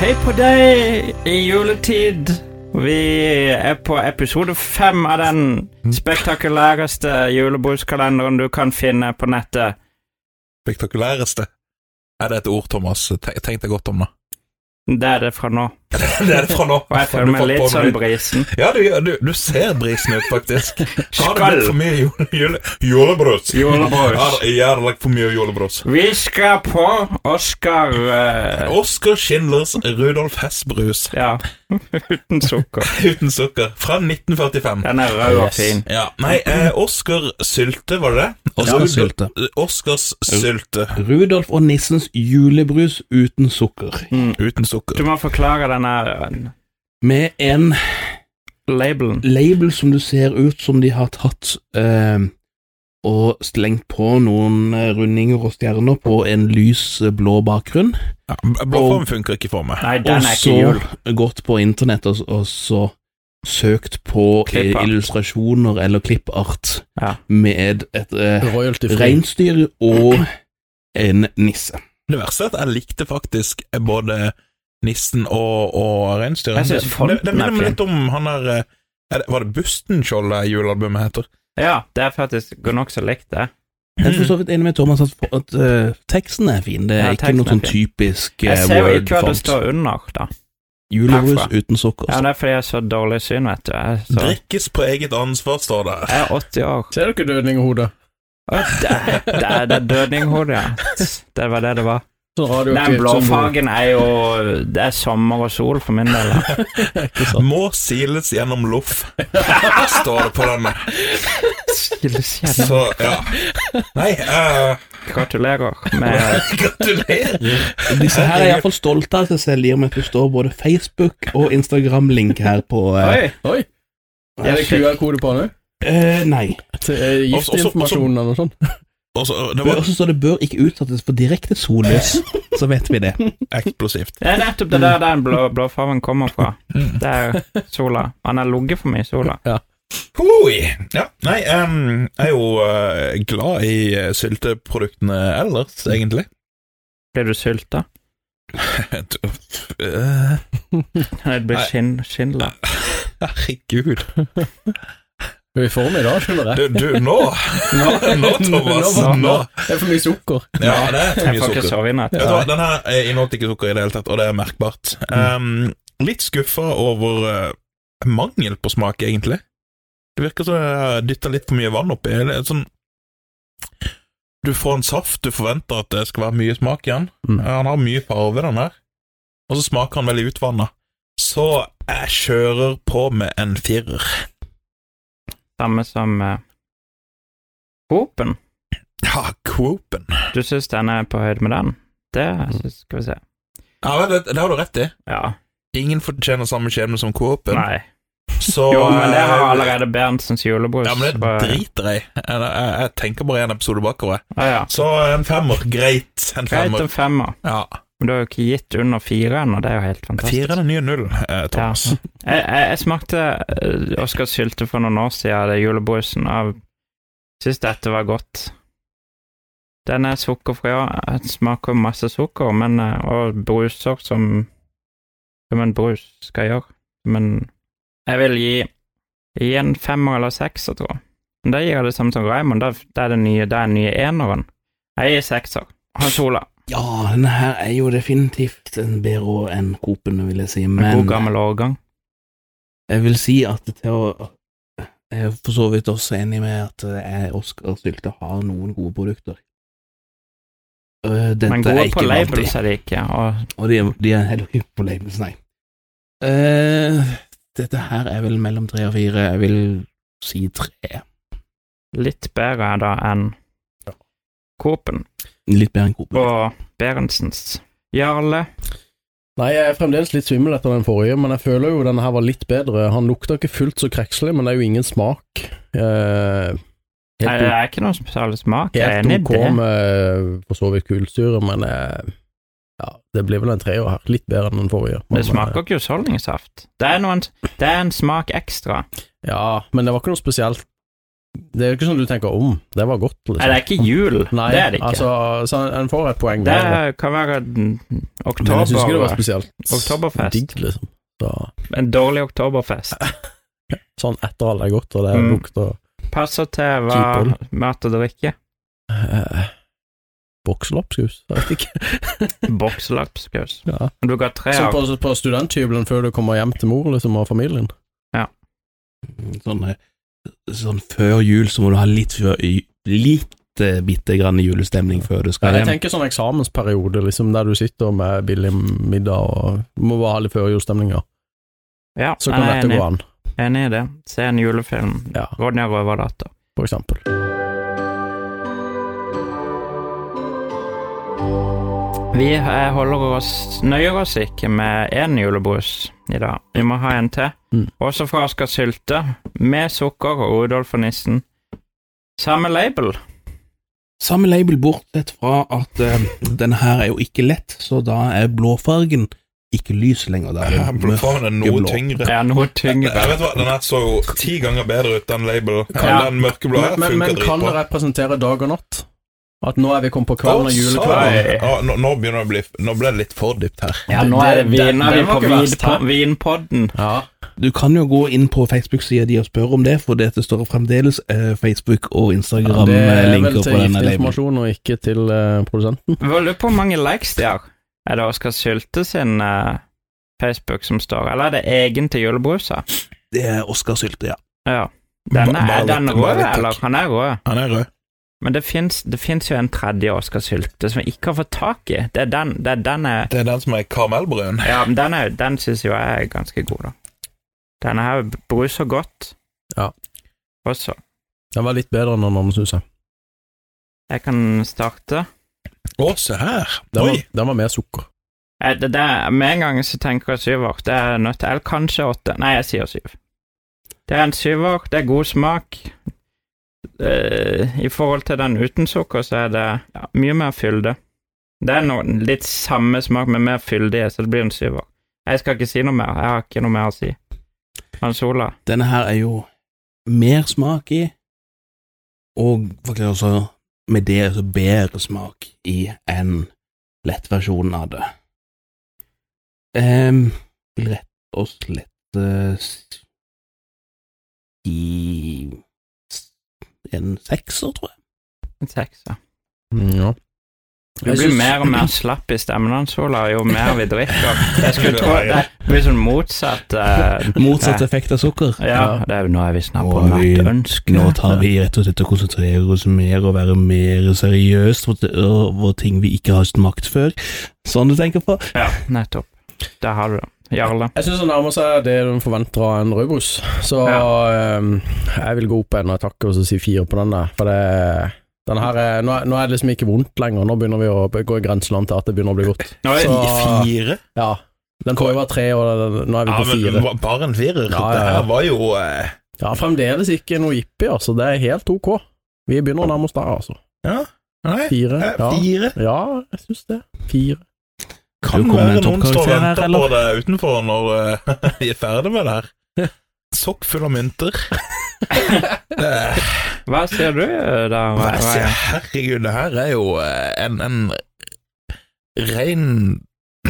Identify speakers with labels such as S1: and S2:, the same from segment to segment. S1: Hei på deg i juletid. Vi er på episode fem av den spektakulæreste julebordskalenderen du kan finne på nettet.
S2: Spektakulæreste. Er det et ord, Thomas? Te- Tenk deg godt om det.
S1: Det er det fra nå.
S2: Det er det fra nå.
S1: Og jeg
S2: Du
S1: føler meg
S2: fant på
S1: litt sånn
S2: det.
S1: brisen.
S2: Ja, du, gjør- du, du ser brisen ut, faktisk. Har det
S1: Skall.
S2: blitt for mye jule, jule, julebrus?
S1: Julebrus.
S2: Har, jeg har lagt for mye julebrus.
S1: Vi skal på Oscar eh,
S2: Oskar Schindlers Rudolf Hess-brus
S1: Ja, uten sukker.
S2: uten sukker fra 1945.
S1: Den er rød og
S3: Yes.
S1: fin.
S2: Ja, Nei, eh, Oskar Sylte, var det det?
S3: Oscar
S2: Rudolf-
S3: Sylte.
S2: Oskars Sylte
S3: Rudolf og nissens julebrus uten sukker.
S2: uten sukker.
S1: Du må forklare denne eh,
S3: Med en
S1: labelen.
S3: label som du ser ut som de har tatt eh, og slengt på noen eh, rundinger og stjerner på en lys eh, blå bakgrunn.
S2: Ja, Blåform funker ikke for meg.
S1: Nei,
S3: Og
S1: den er ikke
S3: så
S1: jul.
S3: gått på internett og, og så søkt på eh,
S1: Klippart.
S3: illustrasjoner eller klippart
S1: Ja.
S3: med et eh,
S4: Royalty free.
S3: reinsdyr og en nisse.
S2: Det verste er at jeg likte faktisk både nissen og, og reinsdyret.
S1: Jeg synes
S2: Det-
S1: fonten
S2: det- Det minner
S1: er
S2: meg litt om han der eh, er det- Var det Bustenskjold det julealbumet heter?
S1: Ja, det er faktisk nokså likt, det.
S3: Jeg er for så vidt enig med Thomas at, at eh, teksten er fin. Det er
S1: Ja,
S3: ikke
S1: teksten
S3: noe
S1: er
S3: sånn
S1: fin.
S3: typisk
S1: Jeg
S3: eh,
S1: ser jo ikke hva det
S3: Word-font.
S1: står under, da.
S3: Julebrus
S1: herfra.
S3: uten sukker.
S1: Ja, det er fordi jeg har så dårlig syn, vet du. Jeg, er så,
S2: Mm. Drikkes på eget ansvar, står det.
S1: jeg er 80 år.
S4: Ser dere dødninghodet?
S1: Å, Det er, det er- det er dødninghode, ja. Det var det det var.
S4: Sånn radioaktivt
S1: Den
S4: som-
S1: blåfargen er jo Det er sommer og sol for min del. da.
S4: Ikke sant?
S2: Må siles gjennom loff, står det på denne. Så, ja. Nei, eh,
S1: Gratulerer med
S2: gratulerer.
S3: Disse her er jeg iallfall stolte av seg selv, i og med at det står både Facebook og Instagram-link her på eh,
S1: Oi!
S4: Oi, er det QR-kode på den òg?
S3: eh, Nei.
S4: Til eh,
S2: Også- også-
S4: giftinformasjon eller noe sånt?
S2: Og så- det
S3: Og
S2: var
S3: så står det 'bør ikke utsettes for direkte sollys', så vet vi det.
S2: eksplosivt.
S1: Det er nettopp det der den blå, blåfargen kommer fra. Det er sola. Han har ligget for mye i sola.
S2: Hoi! Ja, nei, em, jeg er jo eh, glad i eh, sylteproduktene ellers, egentlig.
S1: Blir du sulta?
S2: Eh,
S1: Det blir
S2: Nei.
S1: skinn, skinnla.
S2: Herregud.
S4: Du er i form i dag, skjønner jeg.
S2: Du, du, nå Nå, nå Thomas.
S4: Nå,
S2: Nå.
S4: Det er for mye sukker.
S2: Ja, det er for
S1: Jeg
S2: mye
S1: får ikke
S2: sukker.
S1: sove i natt.
S2: Vet du hva, Den her eh, inneholdt ikke sukker i det hele tatt, og det er merkbart. Ehm, litt skuffa over eh, mangel på smak, egentlig. Det virker som jeg dytta litt for mye vann oppi. Det er Sånn, du får en saft, du forventer at det skal være mye smak i den.
S4: Mm.
S2: Eh, Han har mye farve, den her, og så smaker han veldig utvanna. Så jeg kjører på med en firer.
S1: Samme som eh, Hopen.
S2: Ja, Quopen.
S1: Du syns den er på høyde med den? Det synes, skal vi se.
S2: Ja, vel, det, det har du rett i.
S1: Ja.
S2: Ingen fortjener samme skjebne som Coop-en.
S1: Nei.
S2: Så
S1: Jo, men det har
S2: eh,
S1: allerede Berntsens julebrus.
S2: Ja, men det
S1: Bare-
S2: driter jeg i. Jeg, jeg, jeg tenker bare en episode bakover. jeg.
S1: Ja, ja.
S2: Så en femmer. Greit. En
S1: Greit
S2: femmer.
S1: en femmer.
S2: Ja.
S1: Men du har jo ikke gitt under fire ennå, det er jo helt fantastisk.
S2: Fire er den nye null, eh, Thomas.
S1: Jeg, jeg, jeg smakte eh, Oskar Sylte for noen år siden, det julebrusen, av Syns dette var godt. Den er sukkerfri òg. Den Smaker masse sukker, men eh, Og bruser som Som en brus skal gjøre. Men jeg vil gi Gi en femmer eller sekser, tror jeg. Men da gir jeg det samme som Raymond. Da, da er det nye, da er den nye eneren. Jeg gir sekser. Han Sola.
S3: Ja, denne her er jo definitivt en bedre enn Coop-en, vil jeg si,
S1: En
S3: men
S1: god gammel årgang.
S3: jeg vil si at til å jeg er for så vidt også enig med at eh, Oscar Sylte har noen gode produkter. Eh, Dette
S1: Men
S3: er
S1: gode på
S3: ikke blant de.
S1: labels er de ikke. Og
S3: Og de er, de er heller ikke på labels, nei. Eh, dette her er vel mellom tre og fire. Jeg vil si tre.
S1: litt bedre da enn Coop-en.
S3: Litt bedre enn Coop.
S1: og Berentsens. Jarle
S4: Nei, jeg er fremdeles litt svimmel etter den forrige, men jeg føler jo denne her var litt bedre. Han lukta ikke fullt så krekselig, men det er jo ingen smak. Eh,
S1: Nei,
S4: helt
S1: det er ikke noe spesiell smak. Jeg er
S4: Helt
S1: enig i
S4: ok
S1: det.
S4: med for så vidt kulsyre, men eh, ja, det blir vel en treer her. Litt bedre enn den forrige. Men, eh,
S1: Det smaker ikke husholdningssaft. Det er, noen, det er en smak ekstra.
S4: eh, Ja, men det var ikke noe spesielt Det er jo ikke sånn du tenker om. Det var godt, liksom.
S1: Nei, det er ikke jul.
S4: Nei,
S1: det er det ikke.
S4: Altså, så en får et poeng
S1: det
S4: der.
S1: kan være mm,
S4: Men jeg syns ikke det var
S1: oktober,
S4: spesielt
S1: oktoberfest.
S4: digg, liksom. Så,
S1: En dårlig oktoberfest.
S4: sånn etter alle er godt, og det
S1: Mm.
S4: lukter
S1: Passer til hva mat og drikke.
S4: eh, Bokseloppskus? Jeg vet ikke.
S1: Bokselapskaus.
S4: Ja.
S1: Du ga tre
S4: Sånn
S1: av
S4: på, på studenthybelen før du kommer hjem til mor liksom, og familien.
S3: Sånn, eh, sånn før jul så må du ha litt, før- y- litt eh, bitte grann julestemning før du skal
S4: Jeg
S3: hjem.
S4: tenker sånn eksamensperiode, liksom, der du sitter med billig middag og må bare ha litt førjulsstemning. ja.
S1: Ja,
S4: Så kan
S1: nei, jeg er
S4: dette gå
S1: enig.
S4: an,
S1: enig i det. Se en julefilm.
S4: Ja.
S1: Ronja Røverdatter.
S4: for eksempel.
S1: Vi eh, holder oss, nøyer oss ikke med én julebrus i dag. Vi må ha en til.
S4: Mm.
S1: Også fra Asker Sylte, med sukker og Rudolf og nissen. Samme label.
S3: Samme label, bortsett fra at eh, denne her er jo ikke lett, så da er blåfargen ikke lys lenger. Da er det mørk.
S2: Blåfargen er noe
S3: Mørkeblå.
S2: tyngre.
S1: Er noe tyngre.
S2: Jeg vet hva, Den her så jo ti ganger bedre ut, den label.
S1: Ja.
S2: Den mørkeblå her
S4: Men, men,
S2: funker
S4: men kan det
S2: dritbra.
S4: representere dag og natt? At nå er vi kommet på kvelden
S2: Å,
S4: og
S1: sa
S4: julekvelden?
S1: jeg.
S2: sånn. Ja, nå, nå begynner det å bli Nå ble det litt for dypt her.
S1: Ja, nå er det
S4: Den- den-
S1: viner vi
S4: den var
S1: på
S4: ikke verst, hæ?
S1: vinpo- Vinpodden.
S4: Ja.
S3: Du kan jo gå inn på Facebook-sida di og spørre om det, for dette står fremdeles eh, Facebook- og
S4: Ja, Det er vel
S3: Instagram-linker
S4: til
S3: eh, på denne
S4: giftig
S3: labelen.
S4: informasjon og ikke til eh, produsenten.
S1: Jeg lurer på hvor mange likes de har. Er det Oskar Sylte sin eh, Facebook som står, eller er det egen til julebrusa?
S3: Det er Oskar Sylte, ja.
S1: Ja. Denne,
S2: Bare
S1: er
S2: litt-
S1: den
S2: bare
S1: rød,
S2: litt, takk.
S1: eller? Han er rød.
S2: Han er rød.
S1: Men det fins jo en tredje Oskar Sylte som jeg ikke har fått tak i. Det er den, det er den jeg
S2: Det er den som er karamellbrun.
S1: Ja, men den, er- den syns jo jeg er ganske god, da. Denne her bruser godt.
S4: Ja.
S1: Også.
S4: Den var litt bedre enn den andre, syns jeg.
S1: Jeg kan starte.
S2: Å, se her.
S4: Den
S2: Oi.
S4: var, den var mer sukker.
S1: Eh, Det, det, med en gang så tenker jeg syver. Det er nødt til Eller kanskje åtte. Nei, jeg sier syv. Det er en syver. Det er god smak. Eh, I forhold til den uten sukker, så er det ja, mye mer fylde. Det er noe, litt samme smak, men mer fyldig, så det blir en syver. Jeg skal ikke si noe mer. Jeg har ikke noe mer å si. Hans Ola.
S3: Denne her er jo mer smak i, og faktisk også med det altså bedre smak i enn lettversjonen av det. Um, rett og slett eh, s- i s- en sekser, tror jeg.
S1: En sekser.
S4: Mm, ja.
S1: Du blir mer og mer slapp i stemmen hans, Ola, jo mer vi drikker. Jeg skulle tro det blir sånn motsatt. eh,
S3: Motsatt effekt av sukker.
S1: Ja, det er, nå er vi snart på
S3: Nå er vi-
S1: nattønske.
S3: Nå tar vi rett og slett og konsentrerer oss mer og være mer seriøst for, for ting vi ikke har smakt før. Sånn du tenker på?
S1: Ja, nettopp. Der har du det. Jarle.
S4: Jeg syns den nærmer seg det de forventer av en rødbrus, så ehm, jeg vil gå opp en og takke og så si fire på den der. For det, den her er, nå, er- nå er det liksom ikke vondt lenger. Nå begynner vi å b- gå i grenseland til at det begynner å bli godt.
S1: Nå er
S4: Så-
S2: Fire?
S4: Ja. Den forrige var tre, og den- nå er vi
S2: Ja,
S4: på
S2: men
S4: fire.
S2: ba- bare en firer.
S4: Ja, ja, ja.
S2: Det her var jo eh,
S4: Ja, fremdeles ikke noe jippi, altså. Det er helt ok. Vi begynner å nærme oss der, altså.
S2: Nei,
S4: Fire.
S2: eh,
S4: Ja,
S2: fire.
S4: ja jeg syns det. Fire.
S3: Du
S2: Kan
S3: kommer med
S2: være noen
S3: en
S2: står og
S3: toppkarakter her,
S2: venter
S3: eller?
S2: på det utenfor når eh, de er ferdig med det her. Sokk full av mynter. Det,
S1: Hva sier du eh, da? Hva, hva,
S2: jeg sier, herregud, det her er jo eh, en, en rein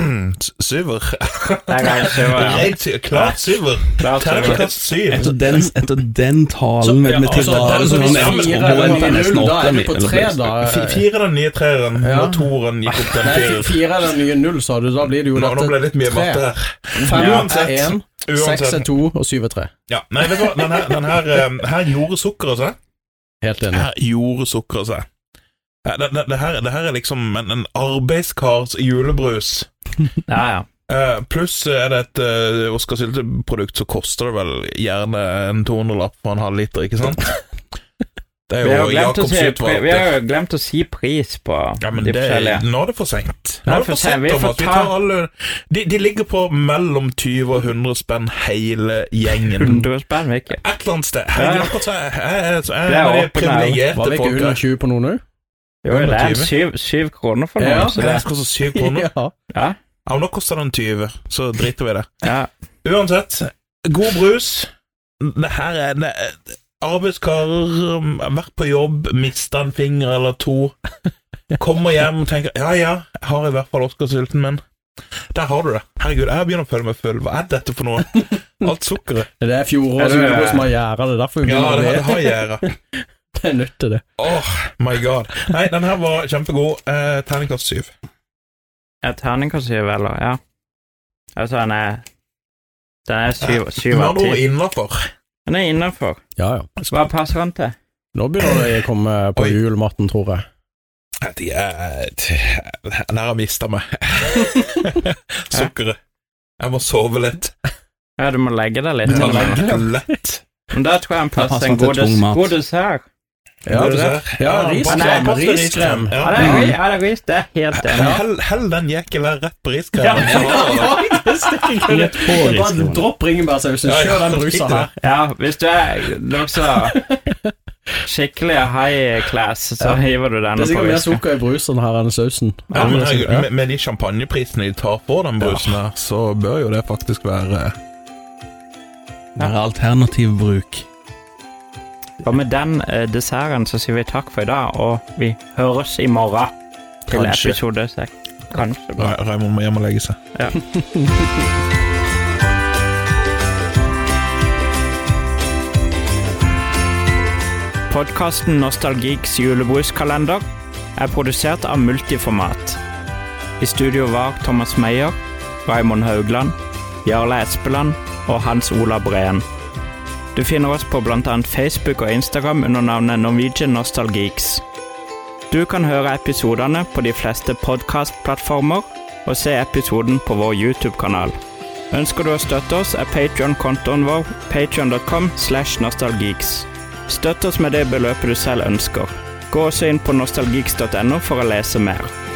S2: syver.
S1: jeg kan ikke være
S2: Rein syver. Klart syver. Terningkast syv.
S3: Etter den, etter den talen med, med
S4: Ja, altså,
S3: tirade,
S4: den
S3: så
S4: som
S3: kan jeg
S4: sier
S3: tro
S4: det,
S3: den er nesten
S4: null, Da er
S3: åtteren
S4: vi på
S3: eller
S4: tre,
S3: flere.
S4: da.
S2: Fi- Fire er den nye treeren,
S4: Ja.
S2: og toeren gikk opp til en
S4: Nei, fi-
S2: firer.
S4: fire er den nye null, sa du. Da blir det jo
S2: Nå, nå ble
S4: dette.
S2: det litt mye
S4: tre.
S2: matte her.
S4: Fem
S2: Uansett.
S4: er én, seks er
S2: Uansett.
S4: to, og syv er tre.
S2: Ja, nei, vet du hva? Den her, den her, eh, her gjorde sukkeret seg.
S4: Helt enig.
S2: Her gjorde sukkeret seg. Ja, Eh, Det, det, det, her, det her er liksom en, en arbeidskars julebrus.
S1: Ja, ja.
S2: Eh, Pluss er det et uh, Oskar Sylte-produkt, så koster det vel gjerne en 200-lapp for en halv liter, ikke sant? Det
S1: Vi har,
S2: er jo
S1: glemt å
S2: Jakob
S1: si, pri, vi
S2: Sytvalgte.
S1: har jo glemt å si pris på
S2: Ja, men
S1: de
S2: det,
S1: forskjellige.
S2: nå er det for seint.
S1: Nå
S2: Nå
S1: er
S2: er
S1: det
S2: det for
S1: for sent.
S2: sent
S1: Vi
S2: om
S1: får
S2: at vi
S1: ta-
S2: tar alle de, de ligger på mellom 20 og 100 spenn, hele gjengen.
S1: 100 spenn, Vicky.
S2: Et eller annet sted. Jeg
S1: Ja.
S2: glemmer å si jeg- jeg- jeg
S1: Det er
S2: er en av de
S1: åpen
S4: Var
S2: privilegerte
S4: vi ikke
S2: folka.
S4: under 20 på noen òg?
S1: Jo, det er
S2: 120.
S1: syv, syv kroner for
S4: Ja.
S1: noe. Så det,
S2: Jeg skal så syv kroner.
S1: ja.
S2: Ja, men nå koster den 20, så driter vi i det.
S1: Ja.
S2: Uansett, god brus. Det her er det, arbeidskarer, um, vært på jobb, mista en finger eller to. Kommer hjem og tenker ja, ja, jeg har i hvert fall Oscarsylten min. Der har du det. Herregud, jeg begynner å føle meg full. Hva er dets for noe? Alt sukkeret.
S4: Det er fjorårets
S1: Er det-
S4: julebord som har gjæra det. er Derfor vi
S2: Ja,
S4: begynner å
S2: det,
S4: le.
S2: det har gjerdet.
S4: Det er nødt til det.
S2: Åh, my god. Nei, den her var kjempegod. Eh, Terningkast syv.
S1: Ja, terningkast syv, eller? Ja. Altså, den er Den er syv, syv
S2: Med
S1: av
S2: andre ord
S1: ti.
S2: innafor.
S1: Den er innafor.
S4: Ja, ja.
S1: Hva passer den til?
S4: Nå begynner det å komme på
S2: Oi.
S4: jul, Morten, tror jeg.
S2: De er Den her har mista meg. Sukkeret. Jeg må sove litt.
S1: Ja, du må legge deg litt.
S2: Jeg må
S1: eller?
S2: legge meg lett.
S1: Men der tror jeg han
S3: passer
S1: passer en
S3: til
S1: god,
S3: tung mat.
S1: des god dessert.
S4: Ja,
S2: Det du
S4: det-
S2: ser.
S4: ja,
S2: Ja,
S1: Nei, jeg
S4: riskrem.
S1: passer
S4: Riskrem.
S1: Ja,
S2: Ja.
S1: det er, ri- ja, det er ris. Det er helt enig.
S2: Men Hell, hell den jekken der rett på
S1: Ja,
S2: riskremen.
S3: Rett på riskrem.
S4: Bare dropp bringebærsausen.
S2: Ja, ja,
S4: Kjør den brusa
S2: riktig det.
S4: her.
S1: ja hvis du er nokså skikkelig high class, så hiver du
S4: Det
S1: denne
S4: er
S1: på
S4: sikkert mer
S1: risken.
S4: sukker i brusen her enn i sausen.
S2: Ja, men herregud, med, med de champagneprisene de tar på den brusen her, så bør jo det faktisk være
S3: Mer alternativ bruk.
S1: Og med den eh, desserten så sier vi takk for i dag, og vi høres i morgen til
S3: Kanskje.
S1: episode seks. Kanskje.
S2: Ra- Raymond må hjem og legge seg.
S1: Podkasten Nostalgiks julebruskalender er produsert av Multiformat. I studio var Thomas Meyer, Raymond Haugland, Jarle Espeland og Hans Ola Breen. Du finner oss på bl.a. Facebook og Instagram under navnet Norwegian Nostalgeeks. Du kan høre episodene på de fleste podkastplattformer og se episoden på vår YouTube-kanal. Ønsker du å støtte oss, er Patreon-kontoen vår patreon.com slash nostalgeeks. Støtt oss med det beløpet du selv ønsker. Gå også inn på nostalgeeks.no for å lese mer.